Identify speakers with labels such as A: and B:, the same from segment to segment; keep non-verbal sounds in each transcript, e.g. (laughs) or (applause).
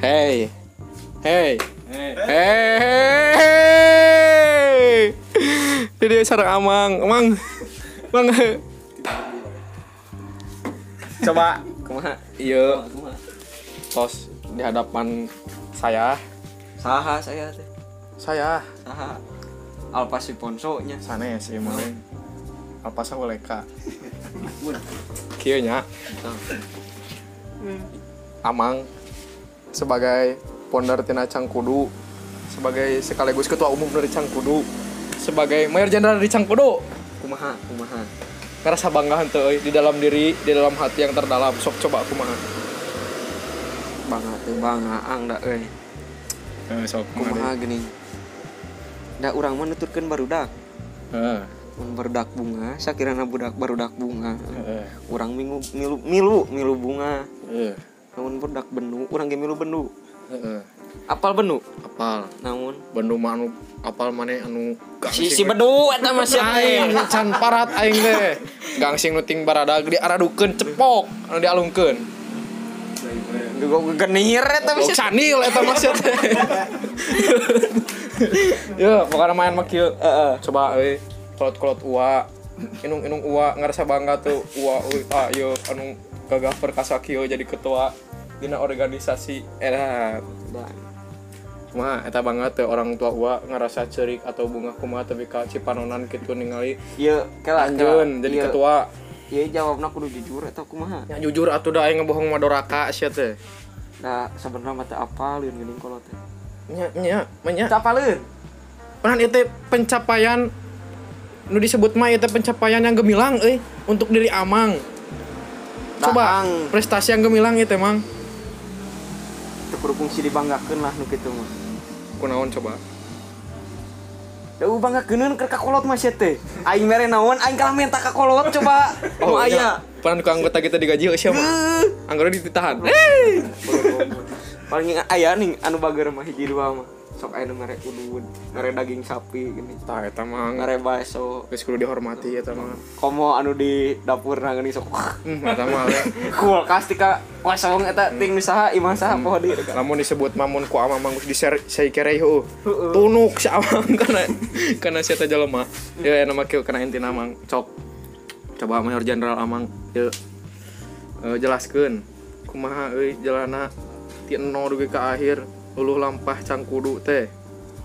A: Hey. Hey. Hey. Hey. Jadi sarang amang, amang. Mang. Coba kumaha? Iya, tos di hadapan saya.
B: Saha saya teh.
A: Saya ya,
B: Saha. Alpa si Ponso nya.
A: sanes ieu mah. Apa sa boleka? Kieu nya. Amang sebagai ponder tina Cangkudu sebagai sekaligus ketua umum dari Cangkudu sebagai mayor jenderal dari Cangkudu
B: Kumaha, kumaha.
A: ngerasa bangga henteu euy, di dalam diri di dalam hati yang terdalam sok coba aku mah
B: Bangga teh bangga ang da euy.
A: Eh, sok
B: Kumaha geuning. Da urang mah nuturkeun barudak.
A: Eh,
B: Mun barudak bunga, sakirana budak barudak bunga.
A: eh,
B: Urang minggu milu milu milu bunga. Namun barudak benu, urang ge milu benu. Apal benu?
A: eh. apal
B: Namun
A: Bandung mah anu apal mana anu
B: si si benu eta mah sia
A: aing can parat aing (laughs) teh gangsing nu ting baradag di aradukeun cepok anu dialungkeun
B: Gue genir eta mah
A: Bau
B: sia.
A: canil eta mah sia teh Yo, Ya, pokoknya main mah kieu. eh, Coba euy, kolot-kolot ua. Inung-inung ua ngerasa bangga tuh ua euy ah yo anu gagah perkasa kieu jadi ketua dina organisasi era
B: Da.
A: mah eta bangga tuh orang tua ua ngerasa cerik atau bunga kumaha tapi ka cipanonan kitu ningali
B: Ieu kela kela.
A: anjeun jadi
B: Ieu-
A: ketua
B: Ieu jawabna kudu jujur eta kumaha?
A: ya jujur atuh da aing ngebohong madoraka sia teh
B: Nah, sebenarnya mata apa liun geuning kolot teh?
A: nya nya menya
B: Capaleun.
A: Penan itu pencapaian nu disebut mah itu pencapaian yang gemilang euy untuk diri Amang. Coba
B: Daang.
A: prestasi yang gemilang itu Mang.
B: Teu kudu fungsi dibanggakeun lah nu kitu mah.
A: Kunaon coba?
B: Da u banggakeun keur ka kolot mah sia teh. Aing mere naon? Aing kalah menta ka kolot coba. (laughs) Oh,
A: iya.
B: aya.
A: Penan ku anggota kita digaji oh, euy sia mah.
B: Heuh.
A: Anggaran ditahan.
B: Paling aya nih anu bager mah hiji dua mah. Sok aya nu mere udud, mere daging sapi gini.
A: Tah eta Mang.
B: Mere baso.
A: Geus kudu dihormati eta mah.
B: Komo anu di dapurna gini sok.
A: Hmm, eta mah. we.
B: Kulkas tika kosong eta ting nu saha imah saha poho di.
A: Lamun disebut mamun ku Amang mah geus diser saya kere heuh. uh. Tunuk si Amang (laughs) kana kana sia teh jelema. Ieu aya nama kieu kana intina Mang. Cok. Coba Mayor Jenderal Amang ieu eh, jelaskeun kumaha euy jalana ti eno dugi ka akhir uluh lampah cangkudu teh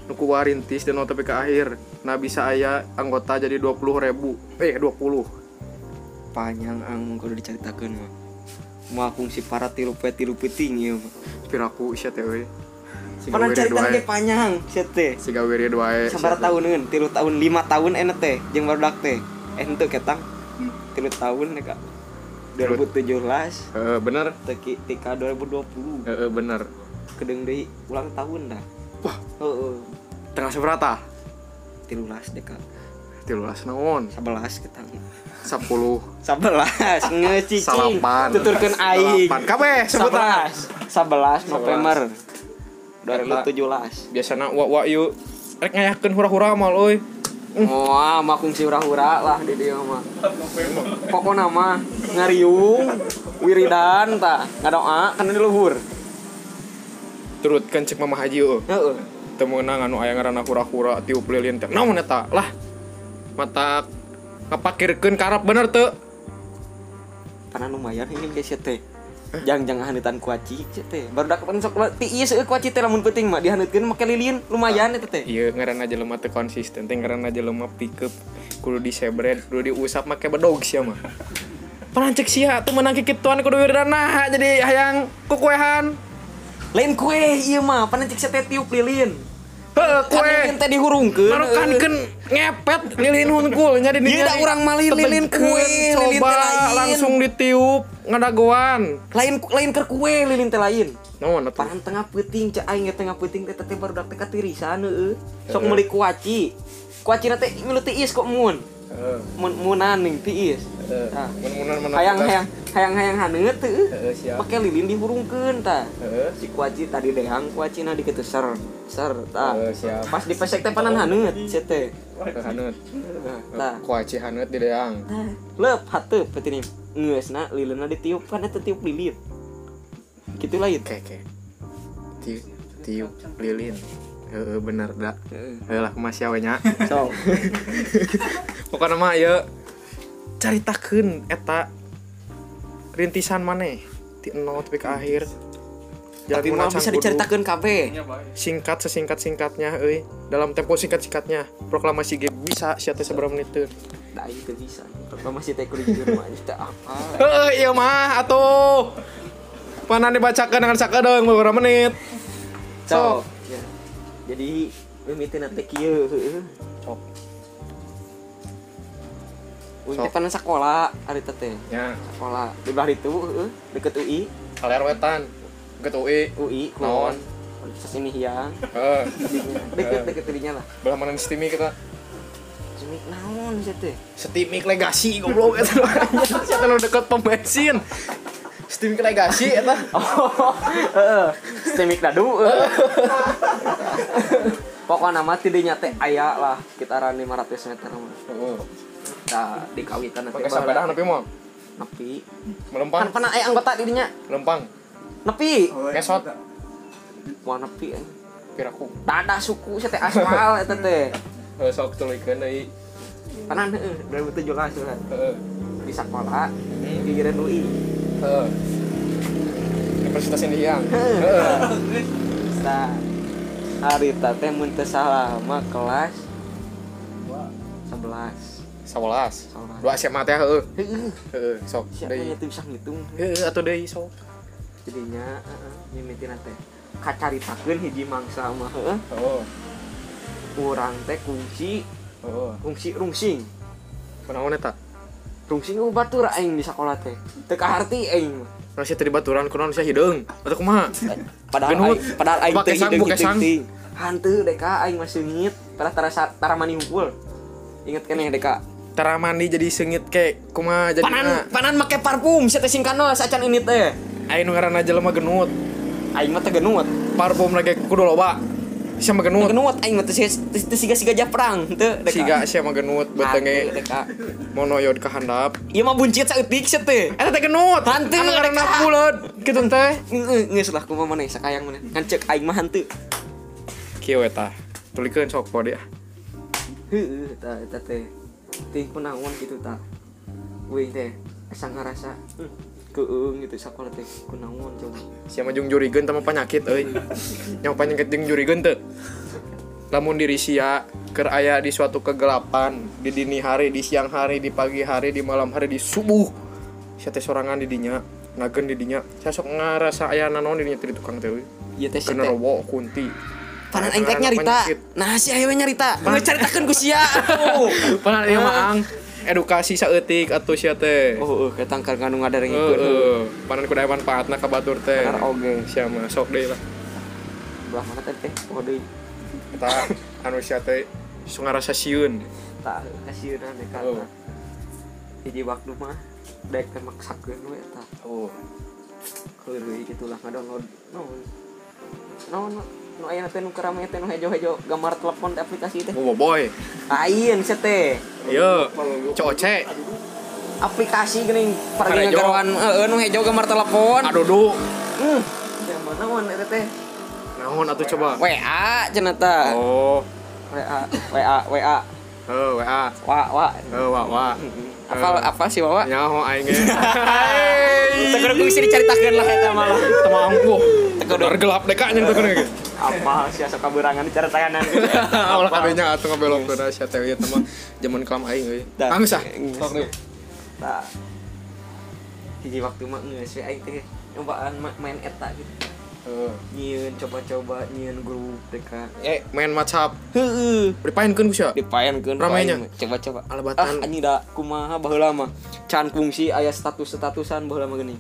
A: nu ku warintis dan tapi ka akhir nah bisa aya anggota jadi 20.000 eh 20
B: panjang ang kudu diceritakeun mah moal fungsi para tilu pe tilu peuting ieu mah
A: piraku sia teh euy Siga
B: pernah
A: wiri
B: cerita
A: dua
B: ge
A: e.
B: panjang sia teh
A: siga wiri dua e, sia
B: sabaraha
A: teh.
B: tahuneun tilu tahun lima tahun ena teh jeung barudak teh eh henteu ketang tilu tahun eka 2017
A: Heeh, Eh, bener
B: teki tika
A: Heeh,
B: 2020
A: Eh, bener
B: kedeng deui ulang tahun dah wah heuh
A: tengah seberata
B: 13 deka
A: tilulas naon
B: 11 ketang
A: 10 (laughs)
B: 11 ngecicing
A: Salapan.
B: tuturkeun aing
A: Salapan. Kabeh sebutan
B: 11 11 November 2017
A: biasana wa wa yuk rek ngayakeun hura-hura mal euy
B: Wah, mah kungsi hura-hura lah di dia mah. Pokoknya mah ngariung, wiridan ta, ngadoa kan di luhur.
A: turutkeun cek mamah haji euy
B: Heeh.
A: temenang anu aya ngaranna hura-hura tiup lilin teh naon eta lah mata ngapakirkeun karep bener teu
B: Karena lumayan ini guys ya teh. Jang jang hanitan kuaci ya teh. Baru dak pan sok ti ieu seueur kuaci teh lamun penting mah dihanutkeun make lilin lumayan eta teh.
A: ieu ngaranna jelema teu konsisten teh ngaranna jelema pickup kudu disebret kudu diusap make bedog sia mah Pernah cek sia tuh menang kikituan kudu wiridan nah jadi hayang kukuehan
B: Lain kue ieu mah pan cek teh tiup lilin.
A: heuh
B: Kan
A: kue
B: lilin teh dihurungkeun.
A: marukan
B: heuh.
A: kan ngepet lilin hunkul nya di
B: Iya, da urang mali lilin kue, lilin
A: coba
B: teh lain.
A: langsung ditiup ngadagoan
B: Lain lain keur kue lilin teh lain.
A: naon atuh
B: Parang tengah puting, cek aing ge tengah puting teh teh baru dak teh katirisan heueuh. Sok meuli kuaci. Kuaci teh milu tiis kok mun.
A: Heeh,
B: Mun munan ning tiis.
A: heeh.
B: Tah.
A: Mun-munan menang
B: Hayang
A: kita.
B: hayang hayang hayang haneut teu.
A: Heeh, siap.
B: Make lilin dihurungkeun tah.
A: Heeh.
B: Si kuaci tadi dehang kuacina dikitu ser ser tah.
A: Heeh, siap.
B: Pas dipesek teh panan haneut sia teh.
A: Hanut.
B: Tah.
A: Kuaci hanut di deang.
B: Tah. Leup hateup petinim. Ngeusna lilinna ditiup kan eta tiup lilin. Kitu lain.
A: Oke, oke. ti- tiup lilin Heeh, bener dah Heeh lah kemasya we nya
B: Sok.
A: pokoknya mah ya caritakeun eta rintisan maneh ti nol tapi ke akhir
B: Tapi
A: muna
B: mah bisa
A: cangkudu.
B: diceritakan kabeh.
A: singkat sesingkat singkatnya euy dalam tempo singkat singkatnya proklamasi ge bisa sia teh seberapa menit tuh
B: Nah, itu bisa. Proklamasi teh kudu jujur mah itu apa?
A: Heuh, iya mah atuh Panan dibacakan dengan sakadeng beberapa menit.
B: Sok. Ya. Jadi mimitina teh kieu.
A: Sok.
B: Uing teh
A: Sok.
B: pernah sekolah ari teh teh.
A: Ya,
B: Sekolah di bawah itu heuh, deket UI,
A: kaler wetan. Gitu, Ketui.
B: UI
A: Naon?
B: kuon. Universitas ini hiang.
A: Heeh. Ya.
B: Deket-deket dirinya lah.
A: Belah mana stimi kita?
B: Cumi naon sih (laughs) teh?
A: Steamik Legacy goblok (laughs) eta. Siapa lu deket pom bensin? Steamik Legacy ya eta.
B: Oh. Heeh. Stemik dadu. heeh. Pokokna mah tidinya teh aya lah sekitaran 500 meter mah.
A: Heeh.
B: Nah, di kawitan
A: Pakai sepeda nepi mah.
B: Nepi. Kan
A: Melempang,
B: pernah aya eh, anggota dirinya.
A: lempang.
B: Nepi.
A: Kesot.
B: Wah, nepi. eh.
A: Piraku.
B: Dada suku saya teh aspal eta teh.
A: Heeh, sok tulikeun deui.
B: Panan heeh 2017 kan.
A: Heeh.
B: Di sekolah di pinggiran UI.
A: Heeh. Universitas Indonesia.
B: Nah, hari teh mun teu salah mah kelas 11.
A: 11.
B: Salah.
A: Dua SMA teh heeh.
B: Heeh.
A: Heeh, sok
B: Siapa
A: deui.
B: yang teu bisa ngitung?
A: Heeh, atuh deui sok.
B: jadinya uh, mimitina teh kacaritakeun hiji mangsa mah heeh
A: Heeh.
B: urang teh kunci
A: Heeh.
B: kungsi rungsing
A: Kunaon eta?
B: rungsing ku batur aing di sekolah teh teu kaharti aing mah.
A: Masih tadi baturan kunaon sia hideung. Atuh kumaha?
B: padahal
A: Genut.
B: aing padahal aing teh
A: Pakai sang,
B: hidung
A: pakai sang.
B: hidung hantu deka aing masih ngit padahal tara sa- tara mani hukul inget kan ya deka
A: Taramandi jadi sengit ke kumaha jadi eh.
B: panan panan make parfum sia teh singkano sacan ini teh
A: Ayo ngaran aja lemah genut
B: aing mah teh genut
A: Parfum lagi kudu loba Siapa
B: Teu
A: genut
B: genut aing mah teh sia- teh teh siga-siga japrang teu deka
A: Siga e. siapa genut
B: Hantu,
A: Betenge
B: deka
A: monoyod kehandap
B: ieu mah buncit saeutik sia teh
A: Eta teh genut
B: Hantu,
A: Anu ngaran
B: Kak.
A: pulet Gitu teh
B: Nges lah kumaha maneh sakayang maneh. Kan ceuk aing mah hanteu.
A: Kieu eta Tulikeun sok kode ah.
B: Heueuh eta eta teh. Ting kunaon kitu ta. Weuing teh asa ngarasa hmm, keung gitu sakola teh kunaon coba.
A: Siapa jeung jurigeun tama penyakit euy Nyawa penyakit jeung jurigeun teu Lamun diri sia keur aya di suatu kegelapan di dini hari, di siang hari, di pagi hari, di malam hari, di subuh. Sia teh sorangan di dinya, nagen di dinya. Sia sok ngarasa aya nanaon di dinya teh di tukang teh euy.
B: Ieu teh
A: Kena
B: sete.
A: robo kunti.
B: Panan aing teh nyarita.
A: Penyakit.
B: Nah si ayeuna nyarita. Ngecaritakeun ku sia atuh.
A: Pernah ieu mah ang edukasi saeutik atuh sia teh.
B: Oh, heuh ketang keur kanu
A: Oh,
B: ngadarengikeun.
A: Heeh. Panan kudu aya manfaatna ka batur teh.
B: Bener oge.
A: Sia mah sok deui lah.
B: Belah mana teh teh? Oh deui.
A: Eta anu sia teh sok ngarasa sieun.
B: Tak kasieuna deka.
A: Oh.
B: Hiji waktu mah dek teh maksakeun we eta.
A: Oh.
B: Kelui gitu lah ngedownload no no no no ayeuna teh nu kerame teh nu hejo-hejo gambar telepon teh aplikasi teh
A: Oh boy.
B: ayeun sia teh
A: Yo, coce,
B: aplikasi geuning
A: Karejo.
B: pargi ngagaroan heeh nu hejo gambar telepon
A: adudu,
B: hmm zaman naon eta teh
A: naon atuh coba?
B: WA cenah eta
A: Oh,
B: WA WA WA
A: eh WA,
B: wa wa
A: eh wa wa.
B: apal apa sih wawa
A: Nyaho aing ge.
B: teu kudu bisa dicaritakeun lah eta malah
A: Tama ampuh. Tegar gelap deka nya teu kene ge.
B: apal sia sok kaberangan dicaritakeun
A: Ulah kadenya atuh ngabelongkeun sia teh ieu teh mah jaman kelam aing euy.
B: Dah.
A: Angsa.
B: Geus. Nah, hiji waktu mah ngeus we aing teh nyobaan ma- main eta gitu. Nyieun coba-coba nyieun grup deka.
A: Eh, main WhatsApp.
B: Heeh.
A: Dipaenkeun ku sia.
B: Dipaenkeun
A: Ramainya.
B: paeng, coba-coba.
A: Alebatan.
B: Ah, anjing da kumaha baheula mah. Can kungsi aya status-statusan baheula mah geuning.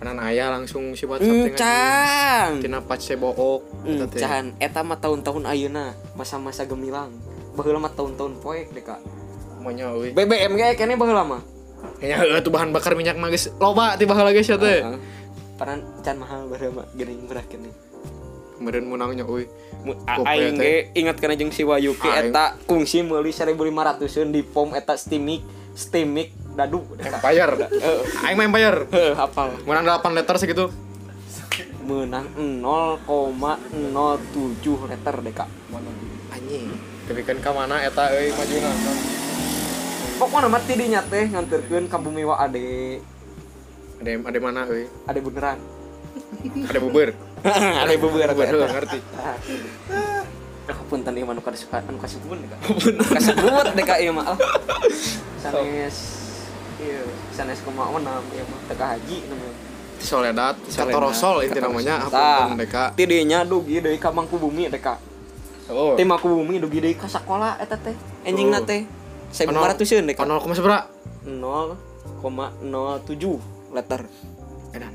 A: Panan aya langsung si WhatsApp
B: Hmm,
A: teh. ngasih.
B: Encan.
A: Tina pace book. eta teh.
B: Encan Hmm, eta mah tahun-tahun ayeuna masa-masa gemilang. Baheula mah tahun-tahun poek deka.
A: Monya euy.
B: BBM ge kene baheula mah.
A: Nya heueuh tuh bahan eh, bakar minyak mah geus loba ti baheula geus sia teh.
B: Heeh. Paran can mahal baheula mah geuning berak kene.
A: Kemudian menangnya, uy.
B: Mu- a-
A: Gope,
B: aing
A: teh.
B: ge ingat kana jeung si Wayu ke
A: Aing.
B: eta kungsi meuli 1500 di pom eta steamik steamik dadu
A: Empire.
B: Heeh.
A: Aing mah Empire.
B: Heeh, hafal
A: Menang 8 letter segitu.
B: menang 0,07 liter deh kak
A: anjing kebikan ke mana eta euy majuna
B: pokoknya mati dinya teh nganterkeun ka bumi wa ade
A: ada ada mana euy
B: ade beneran
A: ada buber (laughs)
B: ade bebeura
A: buber
B: teh
A: heuh,
B: eta.
A: ngerti
B: (laughs) Aku pun tadi mah nuka suka anu kasih pun deka. Kasih pun deka ieu
A: (laughs)
B: mah. ah. Sanes ieu sanes kumaha nam ieu mah teka haji namanya.
A: soledad katorosol itu namanya
B: Tah,
A: apa mereka
B: ti dieu nya Nah, dugi deui ka Mangkubumi deka.
A: oh
B: Ti Mangkubumi dugi deui ka sakola eta teh. Enjingna
A: Tuh.
B: teh 1500 deka.
A: nol koma seberapa
B: 0,07 liter.
A: edan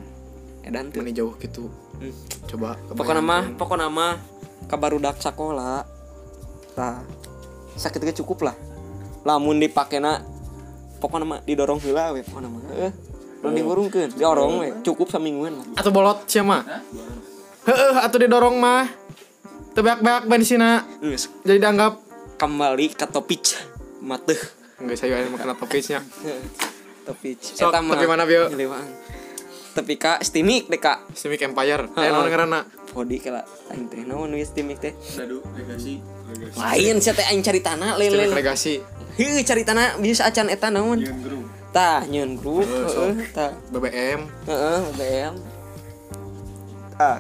B: Edan teh.
A: mana jauh gitu
B: Hmm.
A: coba
B: pokoknya mah pokoknya mah kabarudak sakola tah sakit ge cukup lah lamun dipakena pokoknya mah didorong heula we pokoknya mah heuh lamun diurungkeun diorong we cukup samingguan lah
A: atau bolot siapa heeh atau didorong mah tebak-bak bensinnya
B: Geus,
A: jadi dianggap
B: kembali ka topik mateh
A: enggak saya yang makan topisnya
B: topik
A: Sok, tapi mana, Bio?
B: nyelewaan. tapi ka stimik deh kak
A: Simic Empire eh non ngerana
B: podi kala aing teh naon we stimik teh
C: Dadu legasi.
B: lain sia teh aing cari tanah
A: Simic
B: lele
A: Legacy
B: heuh cari tanah bisa acan eta naon
C: Jangan gerung.
B: tah nyeun grup heuh tah
A: BBM
B: Heeh, BBM. Ah.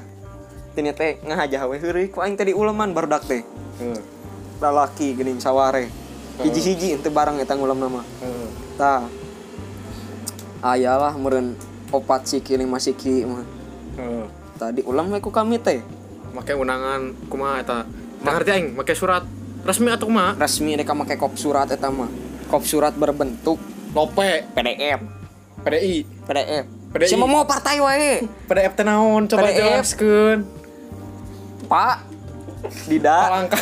B: Tini teh ngahaja we heureuy ku aing tadi uleman barudak teh. Lalaki geuning saware. Hiji-hiji henteu barang eta ngulemna mah. Tah. Ayalah Ah, meureun opat siki lima siki mah. Tadi ulam we ku kami teh.
A: make undangan kumaha eta Tah ngerti aing make surat resmi atau kumaha
B: Resmi mereka make kop surat eta mah. Kop surat berbentuk
A: lope
B: PDF.
A: PDI
B: PDF.
A: PDI.
B: Siapa mau partai wae.
A: PDF teh naon coba
B: PDF.
A: jelaskeun
B: Pak. Dida.
A: (laughs) langkah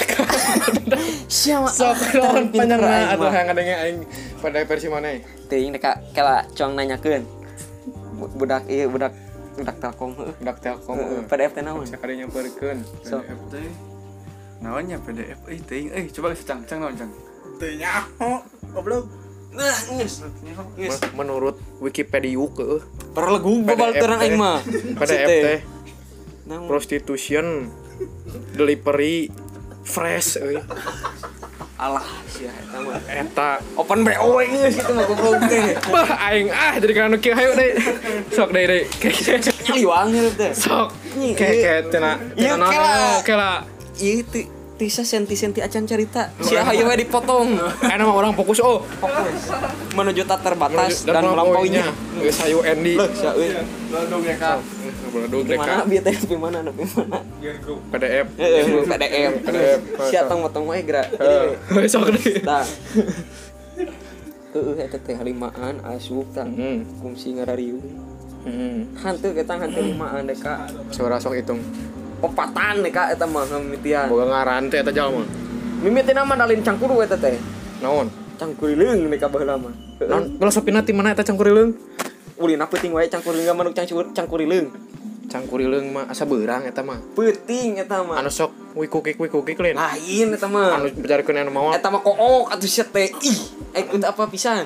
B: Siapa?
A: sok naon panjangna atuh hayang ngadenge aing pada versi mana e?
B: ting deka kela cuang nanyakeun Bu- budak ieu budak budak telkom heuh
A: budak Telkom
B: Heuh,
A: heuh
B: PDF teh naon
A: sakade nyamperkeun
B: So.
C: PDF teh. Naonnya PDF
A: eh,
C: euy teuing euy coba geus cang cang naon cang. Teu nyaho. Goblok.
B: nah geus geus
A: Men- menurut Wikipedia ke
B: perlegung babalteuran aing mah
A: PDF teh
B: naon
A: prostitution delivery fresh euy
B: alah sia eta mah
A: eta
B: open oh, BO we geus kitu mah goblok teh
A: bah aing ah jadi kana nu kieu hayu deui sok deui deui Keke.
B: liwang heuh teh
A: gitu. sok
B: Nyi,
A: keke cenah
B: Iya,
A: cenah
B: kela.
A: naon eh, kela
B: ieu teh Tisa senti-senti acan cerita Si Ahayu we dipotong
A: Karena mah orang fokus oh
B: Fokus Menuju tak terbatas
A: menuju-
B: dan melampauinya
A: Geus hayu Andy. eh,
B: Loh, sia euy
C: Lalu ya kak.
A: Beladung
B: Di mana
A: deka
B: bieu teh di mana na di mana
C: Jangan gerung.
A: PDF.
B: Heeh, PDM.
A: PDM.
B: Sia tong motong
A: Eh.
B: wae gerak. Jadi,
A: Heeh. (laughs) Sok deui.
B: Nah. Heeh eta teh limaan asup tah.
A: Hmm.
B: Kungsi ngarariung.
A: Hmm.
B: Hantu kita hantu limaan deka.
A: Suara sok hitung.
B: Opatan deka eta mah mimitian.
A: Boga ngaran teh eta jalma.
B: Mimitina mah dalin cangkuru eh, eta teh.
A: Naon?
B: Cangkurileung deka baheula mah. Heeh.
A: Non filosofina ti mana eta cangkurileung?
B: Ulina peuting wae cangkurileung manuk cangkur cangkurileung.
A: Cangkurileung mah asa beurang eta mah.
B: Peuting eta mah.
A: Anu sok wikukik wikukik lain.
B: Lain eta mah.
A: Anu bejarkeun anu mawa
B: Eta mah kook atuh sia teh. Ih, ikut apa pisan?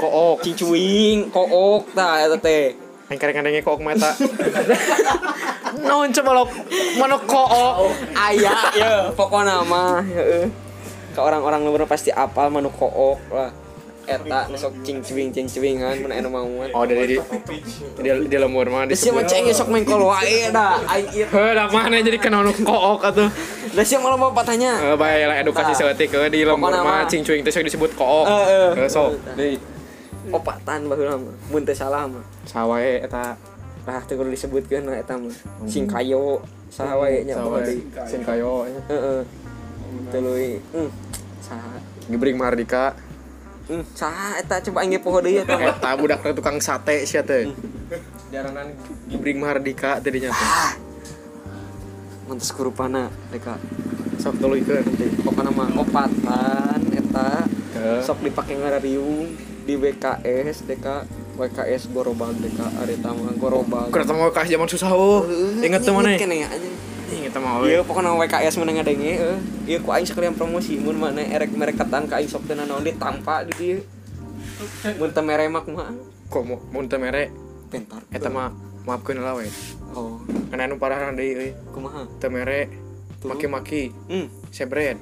A: kook.
B: Cincuing, kook tah eta teh.
A: Aing kareng-karenge kook mah eta. (laughs) Naon coba lok mana kook?
B: ayah ya pokoknya mah heeh. ke orang-orang luar pasti apal manu kook lah eta nesok cing cing cing cingan mun anu mau
A: Oh dari di di, di lembur mah di
B: da sia mah
A: sebelah.
B: ceng sok mengkol wae da aing ieu
A: Heuh, da mana jadi kena anu kook atuh.
B: da sia mah loba
A: Eh,
B: patanya
A: bae lah edukasi
B: Tah.
A: seutik euy di lembur
B: Pokona
A: mah
B: mah.
A: cing cuing teh sok disebut kook.
B: Heeh.
A: Heeh, sok.
B: deui opatan baheula mah mun teu salah mah
A: Sawae eta
B: tah teu kudu disebutkeun lah eta mah sing kayo Hmm, saha wae nya
A: Sawae.
B: pokoknya deui.
A: Sing kayo nya.
B: heeh tuluy hmm saha
A: Gibring Mardika
B: hmm saha eta coba aing ge poho deui eta mah.
A: eta budak teh tukang sate sia teh. Daranan Gibring Mardika tadinya teh.
B: mantes kurupana deka
A: Sok tuluikeun.
B: pokoknya mah opatan eta
A: Heeh.
B: sok dipake ngarariung di WKS deka WKS Gorobag deka areta mah Gorobag
A: Keur teu ka zaman susah euy. Ingat Oh, teu mana?
B: Kene ya anjing.
A: Ingat teu mah
B: Iya
A: euy.
B: pokoknya WKS menengah dengi eh. Iya ku aing sekalian promosi mun mana erek merek ketan ka aing sok teu nanaon di tampa di dieu. Mun teu meremak mah
A: Kok mau mun teu mere
B: bentar.
A: eta mah maafkan lah we
B: oh
A: karena nu parah deui euy
B: kumaha
A: teu mere
B: Tuh.
A: maki-maki
B: hmm
A: sebret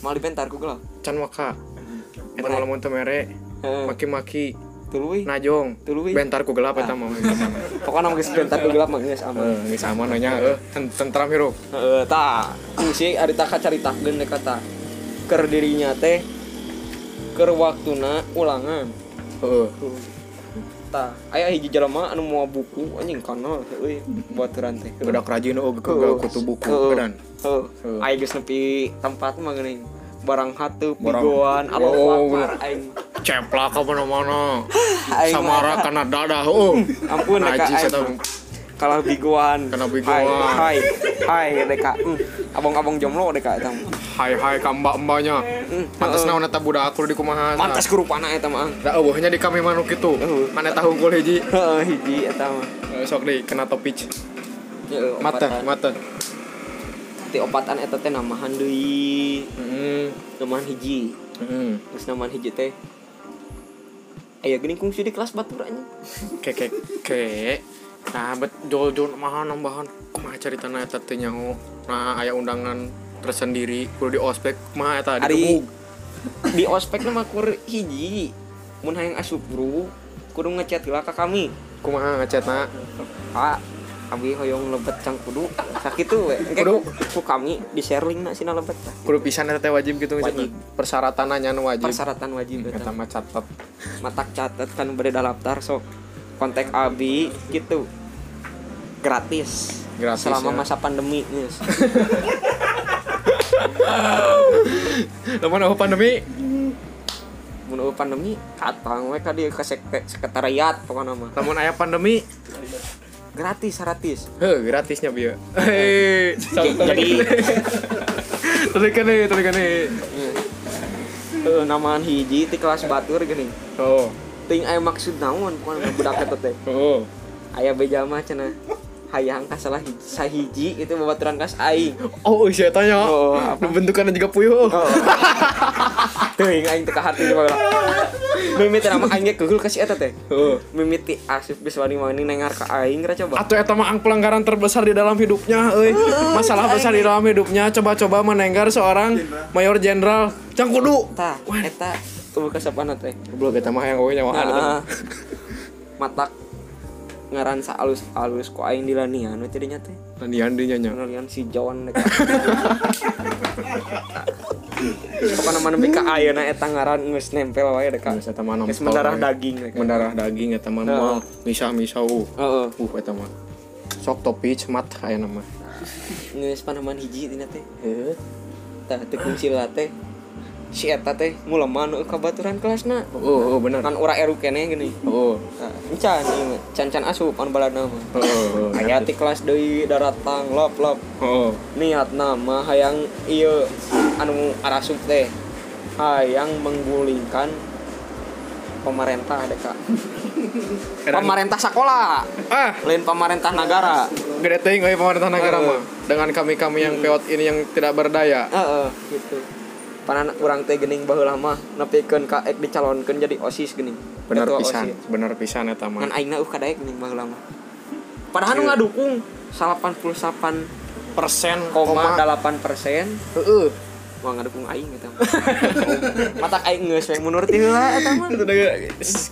B: mal dibentar ku gelah
A: can waka eta
B: Bener.
A: mah lamun teu mere
B: Heeh.
A: maki-maki
B: tuluy
A: najong
B: Tuluy.
A: bentar ku gelap
B: Ah.
A: eta mah
B: pokoknya mah geus bentar ku gelah mah geus aman
A: Eh, geus aman nya eh ten- tentram hirup
B: Heeh, tah. Sih Eh, ari taka caritakeun deh kata keur dirinya teh keur waktuna ulangan.
A: heeh
B: Tah, aya hiji jelema anu moal buku anjing kana euy baturan teh.
A: budak rajin oh gagal kutu buku
B: Heeh.
A: kan
B: Heeh.
A: Heeh.
B: Aya geus nepi tempat mah geuning. Barang hatu
A: Barang-
B: pigoan Allah
A: Oh,
B: Akbar
A: bener.
B: aing.
A: ceplak ke mana-mana
B: Aing
A: samara
B: mah.
A: kana dadah oh
B: Ampun deka
A: najis eta
B: aing. Kalah bigoan.
A: Kalah bigoan.
B: Hai, hai, hai deka. Hmm, Abang-abang jomblo deka eta. mah. Hmm,
A: hai hai ka mbak-mbaknya pantes naon eta budak aku di kumaha eta.
B: Mantas kerupana eta mah.
A: da eueuhnya di kami manuk kitu
B: Eueuh.
A: mana tahu gol hiji
B: Heeh, hiji eta mah.
A: Eh, sok deui kena topic
B: Heeh,
A: mata
B: obatan.
A: mata
B: ti opatan eta teh namahan deui
A: heeh
B: namahan hiji
A: heeh
B: terus namahan hiji teh aya geuning kungsi di kelas baturan
A: kek kek nah bet jol jol maha nambahan kumaha caritana eta teh nyaho nah aya undangan tersendiri kudu di ospek kumaha eta
B: ari
A: digebug.
B: di ospek nama kur hiji mun hayang asup guru kudu ngechat heula ka kami
A: kumaha ngacatna
B: ah abi hoyong lebet cang kudu sakitu we Engke
A: Kudu.
B: ku kami di share link na sina lebet tah.
A: kudu pisan eta teh wajib gitu ngacatna
B: Wajib.
A: persyaratan nya wajib
B: persyaratan wajib
A: eta
B: eta
A: mah catet
B: matak catet kan beda daftar sok kontak abi gitu gratis
A: Gratis,
B: selama
A: ya.
B: masa pandemi yes.
A: (laughs) lamun eueuh pandemi
B: mun eueuh pandemi katang we ka dieu ka sek- sekretariat pokona mah
A: lamun aya pandemi
B: gratis gratis
A: heuh gratisnya bieu hei
B: jadi
A: tulikan deh tulikan deh
B: heuh eh, namaan hiji ti kelas batur geuning
A: oh
B: ting aya maksud naon pokona mah budak eta teh
A: oh
B: aya bejama cenah hayang ka salah hiji, sahiji itu babaturan kas aing
A: oh saya tanya
B: Oh,
A: oh,
B: apa?
A: bentukannya juga puyuh
B: Oh. (laughs) Teuing aing teu kahati bae. Mimiti nama aing ge geul ka si eta teh.
A: Heeh.
B: Mimiti asif geus wani-wani nengar ka aing ra coba.
A: atau eta mah ang pelanggaran terbesar di dalam hidupnya euy. masalah besar di dalam hidupnya coba-coba menenggar seorang mayor jenderal cang kudu
B: Tah, eta tuluy ka sapana teh.
A: goblok eta mah yang euy ah.
B: Nah, Ah, matak ngaransa alus-alus ku aing dilanian we tidinya teh.
A: Nian dia nyanyi
B: Nalian si John eta. Pokona mana bika ayeuna eta ngaran geus nempel wae deka.
A: Geus eta mah nempel
B: Geus mendarah
A: wae.
B: daging deka.
A: mendarah daging eta mah
B: Heeh.
A: moal misah-misah uh
B: Heeh.
A: uh eta mah sok topi cemat aya nama
B: Geus panaman hiji tina teh.
A: heeh
B: tah teu kungsi lah teh si eta teh nguleman eueuh ka baturan kelasna
A: oh oh oh, bener
B: kan ora eru keneh gini
A: oh
B: Nah, can can can asup anu balada mah
A: oh, oh
B: aya ti kelas deui daratang lop lop
A: oh
B: niat nama hayang ieu anu arasup teh hayang menggulingkan pemerintah deka pemerintah sekolah
A: ah
B: lain pemerintah negara
A: gede ting euy pemerintah negara mah dengan kami-kami yang peot ini yang tidak berdaya
B: heeh gitu panan urang teh gening baheula mah nepikeun ka ek dicalonkeun jadi OSIS gening
A: bener
B: Ketua
A: pisan
B: OSIS.
A: bener pisan eta
B: ngan
A: mah
B: aing na uh kadaek nih baheula mah padahal nu ngadukung 88,8
A: persen
B: persen
A: heeh
B: mau ngadukung aing eta mah matak aing geus we mundur ti heula eta mah
A: itu udah gak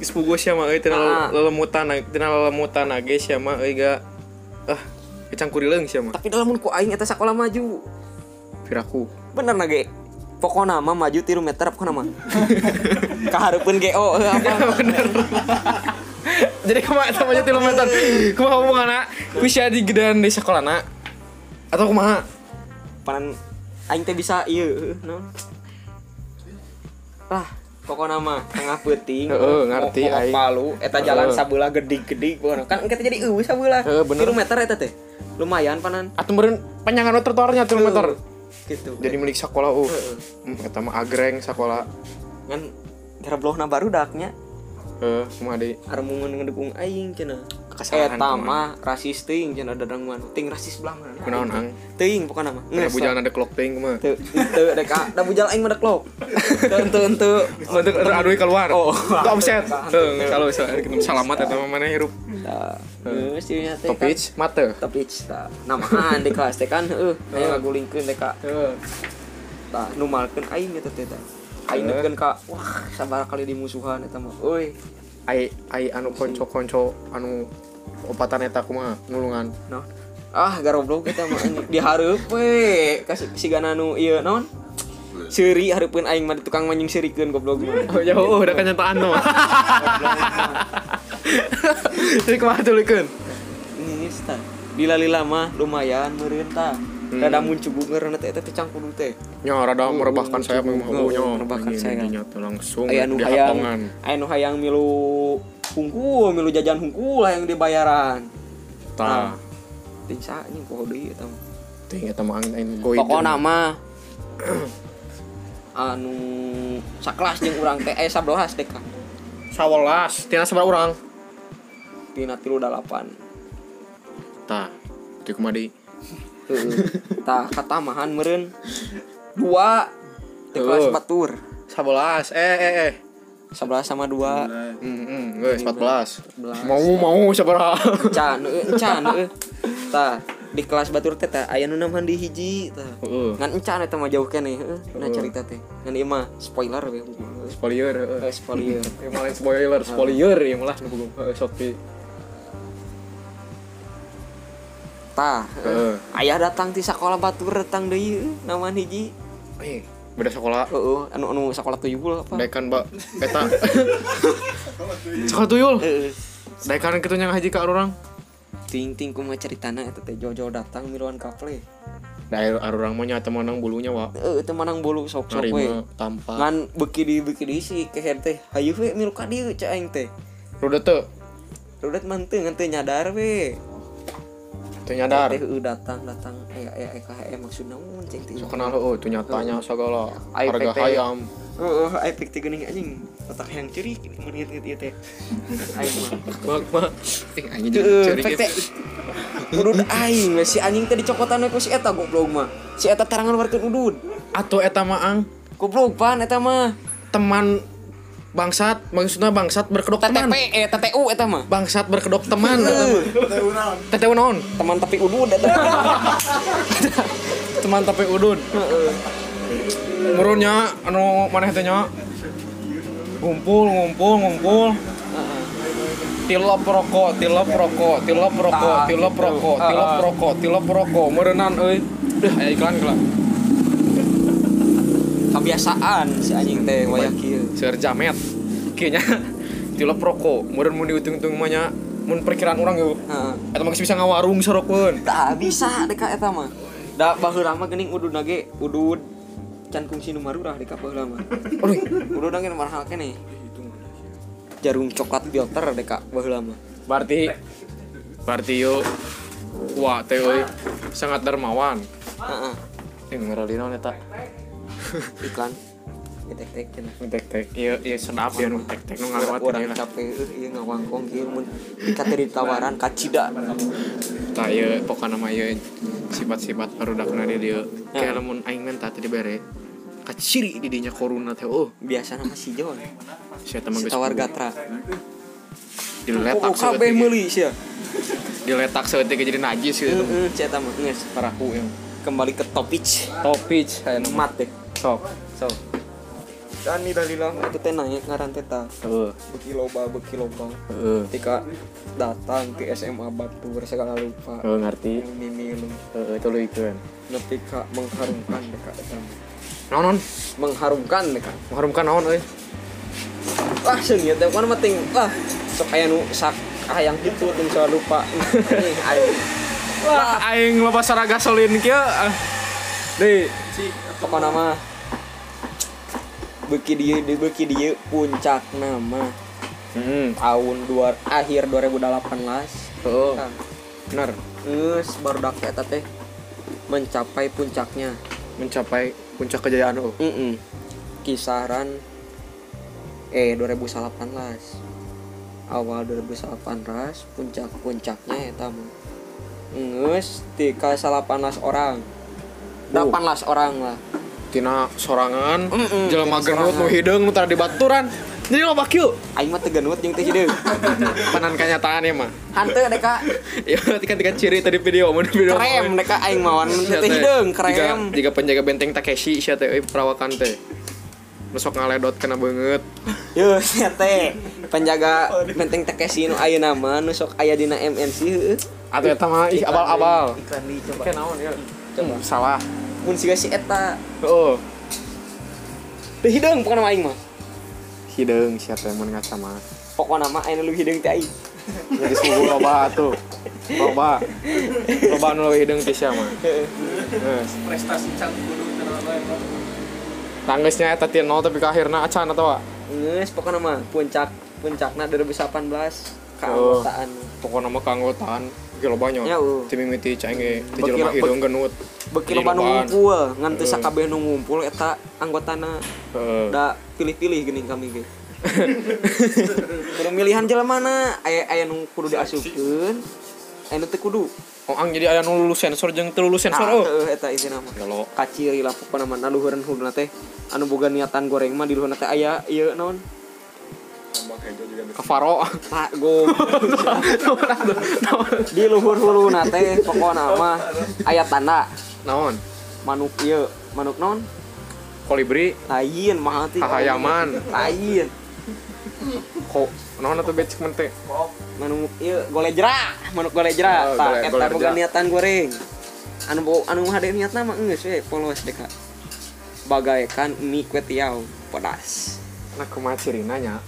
A: sepugu ya, mah euy tina
B: Ah.
A: lelemutan tina lelemutan age sia mah euy ga ah kecang kurileng sia ya, mah
B: tapi dalam ku aing eta sakola maju
A: piraku
B: bener na ge pokona mah maju tiru meter pokona mah kahareupeun GO heuh, eh, apa
A: (laughs) jadi kumaha eta mah jadi lelemutan kumaha hubunganna ku sia digedean di sekolahna atau kumaha
B: panan aing teh bisa ieu heuh, naon lah pokona mah tengah peuting
A: Heeh, ngarti
B: mo- mo-
A: aing.
B: palu eta jalan
A: Heeh.
B: sabeula geudig-geudig pokona kan kita jadi eueuh sabeula
A: Heeh, bener.
B: kilometer eta teh lumayan panan
A: atuh meureun panjangan trotoarnya tuh meter
B: gitu
A: jadi milik sekolah uh hmm, eta mah agreng sekolah
B: kan gara bloh na baru daknya
A: eh kumaha deui
B: armungan ngedukung aing cenah eh
A: kesalahan
B: tama rasis ting jangan ada dangguan ting rasis belah mana
A: Kunaon, Ang?
B: ting pokoknya mah
A: Ada
B: Nges,
A: bujangan ada clock ting mah.
B: teu teu dek ah, da bujal aing
A: (laughs)
B: medek lok teu teu teu
A: Untuk aduh keluar.
B: Oh.
A: Tuh offset. Tuh, kalau kita salamat atau mana hirup.
B: da geus ieu nya teh kan.
A: Topich mate.
B: tapi cita namaan di kelas teh kan heuh aya ngagulingkeun teh ka tah nu malkeun aing eta teh tah aing
A: Heuh.
B: neukeun ka wah sabar kali dimusuhan eta mah euy
A: Ai ai anu konco-konco anu opatan eta kumaha ngulungan.
B: no ah garoblok eta mah anjing dihareup we kasih sigana nu ieu naon Seuri hareupeun aing mah di tukang manjing seurikeun goblok mah.
A: Oh, ya oh, udah kenyataan (laughs) tuh. Jadi kumaha tulikeun?
B: Ini tah. Dilali lama lumayan meureun tah. Rada muncul bungeurna teh eta teh cangkudu teh.
A: Nya rada merebahkan sayap memang oh nya.
B: Merebahkan
A: Ini,
B: sayap.
A: ini, nya, tuh, langsung
B: aya nu
A: di
B: hayang
A: hatongan.
B: aya nu hayang milu hungkul milu jajan hungkul hayang dibayaran
A: Tah.
B: ting sa anjing poho deui eta mah
A: Ting eta mah angin goit.
B: pokona mah (clears throat) anu sakelas jeung urang teh eh 11 deh kan
A: 11 tina sabaraha urang?
B: dina 38
A: Tah. Di kumaha deui?
B: heueuh tah katamahan meureun dua di kelas
A: Heuh.
B: batur
A: 11. Eh eh eh.
B: 11 sama 2
A: Hmm, hmm, 14.
B: 14.
A: Mau mau sabaraha?
B: can eueuh can eueuh tah di kelas batur teh tah aya nu namhan di hiji tah
A: Heeh.
B: ngan encan eta mah jauh keneh heuh nah cerita teh ngan ieu mah spoiler we
A: Spoiler. heeh.
B: Eh, spoiler
A: Ya malah spoiler, spoiler ya malah nu gugum Shopee.
B: (laughs) tah
A: Heeh.
B: ayah datang di sekolah batur datang deui heuh, namaan hiji
A: Eh, beda sekolah
B: heuh Oh, anu anu sekolah tuyul apa
A: Dekan Mbak eta. (laughs) Sekolah tuyul.
B: heuh
A: Dekan kitu nyang haji ka urang.
B: ting ting kumaha caritana eta teh jauh-jauh datang miluan kaple
A: Daer urang mah nya teman nang bulunya wa.
B: heuh teu manang bolu sok-sok we
A: Narima tampa.
B: ngan beki di beki di si keher teh hayu we milu ka dieu ca aing teh
A: Rudet teu
B: rudet manteu ngan teu nyadar we
A: teu nyadar.
B: teh heuh datang datang eh eh eh KHM maksud naon cing teh
A: Sok kenal heuh teu oh, nyatanya sagala
B: Ai,
A: harga
B: efek teh.
A: hayam.
B: Oh, oh, aing pik teh geuning anjing. Otak yang ceri menit ieu
A: (laughs)
B: teh. Aing mah.
A: Mak mak. Ting anjing
B: Teu,
A: ceurik.
B: pik teh. Udud aing we si anjing teh dicokotan we ku si eta goblog mah. Si eta tarangan warkeun udud.
A: Atuh eta mah ang
B: Goblog pan eta mah.
A: teman bangsat maksudnya bangsat berkedok teman.
B: TTP eh TTU eta mah.
A: Bangsat berkedok teman. Teteu naon?
B: Teman tapi udud
A: (laughs)
B: eta.
A: Teman tapi udun.
B: Heeh.
A: Murunnya anu maneh teh nya. Ngumpul, ngumpul, ngumpul. Tilop rokok, tilop rokok, tilop rokok,
B: Tah,
A: tilop
B: gitu.
A: rokok,
B: Ah,
A: tilop
B: ah.
A: rokok, tilop rokok. Meureunnan euy. Deuh, aya iklan kelah.
B: Kebiasaan si anjing teh wayah kieu.
A: Seur jamet. Kieu nya tilop rokok. Meureun mun diutung-utung mah nya mun perkiraan urang yeuh.
B: Heeh.
A: Eta mah geus bisa ngawarung sorokeun.
B: Tah bisa deka eta mah. Da baheula mah geuning udud nage udud can kungsi nu marurah di ka baheula mah.
A: Aduh,
B: Udah udah kena mahal kene. Jarum coklat filter deh kak, baheula mah.
A: berarti berarti yuk wah teh euy sangat dermawan.
B: Heeh.
A: Ing ngeralinaon eta?
B: Iklan. Tek tek cenah.
A: Tek tek. Iya, iya sedap ya nu tek tek nu ngalewat
B: Orang capek eh, eueuh ieu ngawangkong ieu mun kate ditawaran ka cida.
A: Tah ieu pokona mah ieu sifat-sifat barudakna di
B: Ya.
A: dieu. Kayak lamun aing menta teh dibere kaciri di dinya koruna teh oh
B: Biasa nama si Jon.
A: sia teh mah
B: Si
A: geus
B: tawar gatra.
A: diletak
B: Oh,
A: seutik
B: kabeh meuli sia.
A: diletak seutik jadi najis gitu
B: Heeh, sia eta mah geus.
A: paraku ya. yang
B: Kembali ke topik.
A: topich aya nu
B: Mat deh.
A: sok sok
B: Dan ni dalilah itu teh naik ngaran teh tah.
A: heeh
B: Beki loba beki loba.
A: heeh
B: Ketika datang ke SMA Batur segala lupa.
A: Heeh, eh, ngerti Eh,
B: Yang mimi lu.
A: heeh tuluikeun
B: nepi ka mengharumkan deka eta mah.
A: naon naon
B: mengharumkan deka
A: mengharumkan naon euy
B: ah seunyeut teh mana mah ting ah sok aya nu sak hayang kitu ting soal lupa (laughs) Anjing, ayo
A: Wah, aing loba sara gasolin kieu. ah. Deui.
B: pokona mah beuki dieu di beuki dieu puncak nama
A: Heeh.
B: tahun dua akhir
A: Hmm,
B: 2018
A: Heeh.
B: Nah,
A: Benar.
B: geus baru dak eta teh mencapai puncaknya
A: Mencapai puncak kejayaan euy.
B: mm kisaran eh 2018 awal 2018 puncak-puncaknya eta mah ngeus di ka 18 orang 18 orang lah
A: tina sorangan
B: Mm-mm,
A: jelema
B: tina
A: gerut nu
B: sorangan.
A: hideung nu tara dibaturan jadi lo bakyu
B: aing mah teu geneut jeung teh (laughs) hideung
A: panan kanyataan ya
B: (laughs)
A: mah
B: hanteu deka
A: ya berarti kan tika ciri tadi video mun video Iya,
B: krem deka aing mawan
A: Sia
B: teh hideung
A: jika,
B: krem
A: jika penjaga benteng Takeshi sia teh euy, perawakan teh besok ngaledot kena banget
B: Yo, sia teh penjaga benteng Takeshi nu ayeuna mah nu sok aya dina MNC heueuh.
A: atau eta mah ih
B: eh,
A: abal-abal
D: iklan di coba
A: kayak naon ya Hmm, salah
B: Mun siga si eta
A: oh
B: teh hideung pokona mah aing mah.
A: hideung sia teh mun ngaca mah
B: Pokona mah ayeuna lu hideung teh aing.
A: jadi suhu loba tuh loba loba nu leuwih hideung teh sia mah Geus.
C: prestasi cang kudu terlalu hebat.
A: Tangisnya eta tina nol tapi ke akhirna acan atawa
B: Ngeus pokona mah puncak puncakna 2018 keanggotaan.
D: Oh.
A: pokoknya mah keanggotaan ge loba nya.
B: Ya, uh.
A: Teu mimiti cai ge teu
B: Bekil-
A: jelema hideung genut.
B: Beki
A: Jadi
B: loba nu
A: lobaan.
B: ngumpul ngan teu
D: Hmm.
A: Heueuh.
B: sakabeh nu ngumpul eta anggotana
A: Heeh.
B: da pilih-pilih geuning kami
D: (laughs)
B: ge. Kudu milihan jelema na aya aya nu kudu diasupkeun. Aya nu teu kudu.
A: Oh, ang jadi aya nu lulus sensor jeung teu lulus sensor
B: Nah,
A: oh.
B: heueuh, eta isina mah.
A: Galo.
B: kaciri lah pokoknya mana luhuran hudna teh anu boga niatan goreng mah di luhurna teh aya ieu naon
A: Kafaro.
B: pak go di luhur huluna teh pokokna mah aya tanda
A: (laughs) Naon?
B: manuk ieu manuk naon
A: Kolibri,
B: lain mah ti
A: kahayaman,
B: lain
A: ko naon atuh becek men teh?
B: manuk ieu golejra manuk golejra
A: Oh, gole-
B: tah eta boga
A: golejra.
B: niatan goreng anu bo, anu hade niatna mah geus we polos deka bagaikan mie kue tiaw pedas
A: Nah, kumaha cirina nya?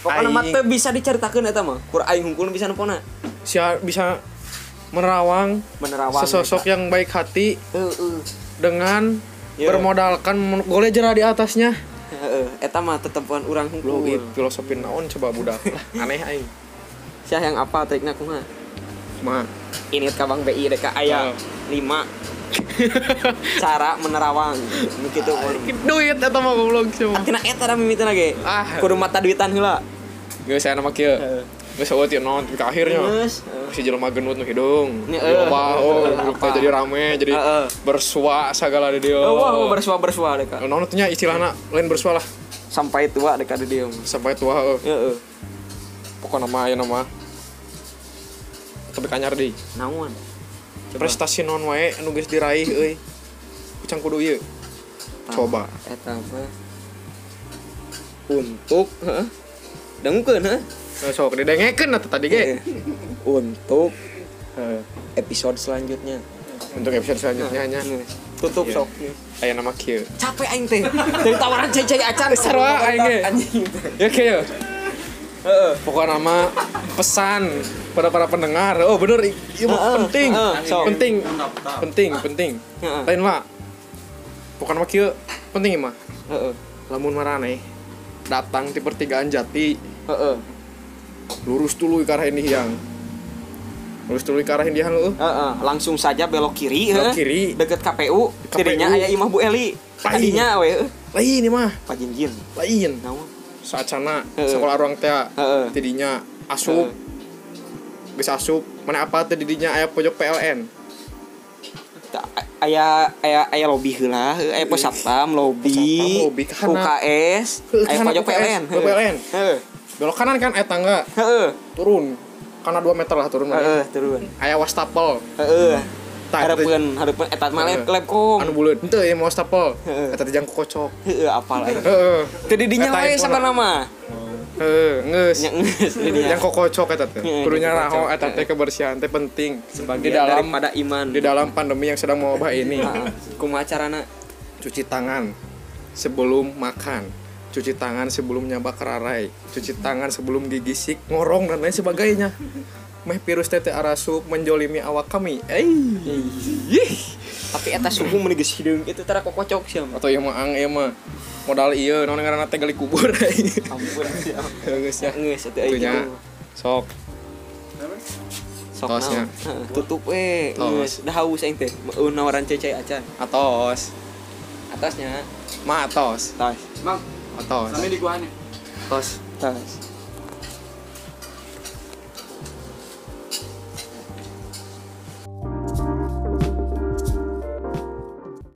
B: Pokokna mah
A: Aing.
B: teu bisa diceritakeun eta mah. Kur aing hungkul bisa nepona.
A: Sia bisa menerawang
B: Menerawang.
A: sesosok yang baik hati
B: Heeh.
A: dengan
B: Iya.
A: bermodalkan men- golejera di atasnya.
B: Heeh, eta mah tetempuan urang
A: Lu gitu.
B: hungkul.
A: ieu filosofi naon coba budak. (laughs) Lah, Aneh aing.
B: Sia yang apa trikna kumaha?
A: Mah.
B: Ini ka Bang BI deka aya
A: Oh. (laughs)
B: 5 cara menerawang. Nu kitu pun.
A: Duit eta mah goblok cuma.
B: Atina eta da mimiteuna ge.
A: Ah.
B: Kudu mata duitan heula.
A: Geus aya nama kieu.
B: Heeh.
A: Geus eueuh ti naon ka akhirnya.
B: Geus.
A: Si jelema genut nu hidung.
B: Heeh.
A: Loba oh
B: Heeh,
A: grup
B: apa?
A: teh jadi rame jadi
B: Heeh.
A: bersua sagala di dieu.
B: Oh, wah, bersua-bersua deka.
A: Naon teh nya istilahna lain bersua lah
B: Sampai tua deka di dieu. mah.
A: sampai tua heuh.
B: Heeh.
A: Pokona mah ayeuna mah. Tapi kanyar deui.
B: Naon?
A: Prestasi non wae anu geus diraih euy. Kucang kudu ieu.
B: Tah,
A: Coba.
B: Eta mah untuk heeh. Dengkeun heuh.
A: Eh, Sok didengekeun atuh tadi ge.
B: untuk
A: Heeh.
B: episode selanjutnya.
A: Untuk episode selanjutnya nya
B: Tutup
A: Iya.
B: sok.
A: aya nama kieu.
B: Capek aing teh. Dari tawaran cai-cai acan
A: Sarwa aing ge. Ya kieu.
B: Heeh.
A: pokoknya nama pesan pada para pendengar oh bener i- iya mah
B: Heeh,
A: penting
B: heeh, sok.
A: penting
C: Mendaftar.
A: penting penting
B: Heeh.
A: lain lah pokoknya mah kieu penting mah
B: Heeh.
A: lamun marane datang di pertigaan jati
B: Heeh.
A: lurus dulu ke arah ini yang lurus dulu ke arah ini yang lu
B: Heeh. Langsung saja belok kiri.
A: Belok
B: heuh.
A: kiri.
B: Deket KPU. Kirinya aya Imah Bu Eli.
A: Lain.
B: Tadinya we heuh.
A: lain iya ini mah
B: Pajinjin.
A: lain
B: Naon?
A: saacana
B: Heeh.
A: sekolah ruang teh
B: Heeh.
A: tidinya asup geus asup mana apa teh didinya aya pojok PLN
B: Ta- Aya aya aya lobi heula, heuh. aya pos satpam, lobi,
A: Pos satpam, lobi, ke kanan.
B: UKS,
A: Heuh, ke
B: aya
A: kanan
B: pojok
A: UKS,
B: PLN. heuh.
A: PLN.
B: Heuh.
A: belok kanan kan aya tangga
B: Heeh.
A: turun karena 2 meter lah turun mah
B: Heeh, turun.
A: aya wastafel
B: Heeh.
A: Tah,
B: Harapan, harapan, eta mah lab-
A: Heeh.
B: labcom.
A: anu buleud henteu ieu mah wastafel
B: Oh. Heeh.
A: eta teh jangkau kocok
B: Heeh, apal aing.
A: heeh
B: Teu didinya
A: Eta
B: we
A: iPhone
B: sabar
A: lah.
B: nama.
A: heeh geus
B: Nya geus didinya.
A: jangkau kocok eta teh
B: Heeh,
A: kudunya
B: jangkau
A: raho
B: kocok.
A: eta teh kebersihan teh penting di
B: Sebagian
A: dalam
B: daripada iman.
A: di dalam pandemi yang sedang mewabah ini
B: Heeh. Kumaha carana?
A: cuci tangan sebelum makan cuci tangan sebelum nyabak rarai cuci tangan sebelum gigi sik ngorong dan lain sebagainya meh virus tete arasup menjolimi awak kami eh Ih.
B: Tapi eta suhu meni geus hideung itu tara kokocok sia.
A: atau yang mah ang yang mah modal iya non karena teh gali kubur (laughs)
B: Ampun sia.
A: geus ya
B: Geus eta
A: Itunya.
B: aing.
A: sok
B: Sok
A: Tosnya.
B: naon. Heeh, Tutup we.
A: Tos.
B: Geus da haus aing teh. Meueun nawaran cecai acan.
A: atos
B: Atasnya.
A: ma atos
B: Tas.
C: Bang,
A: atos
C: sampai di gua nih.
B: Tas.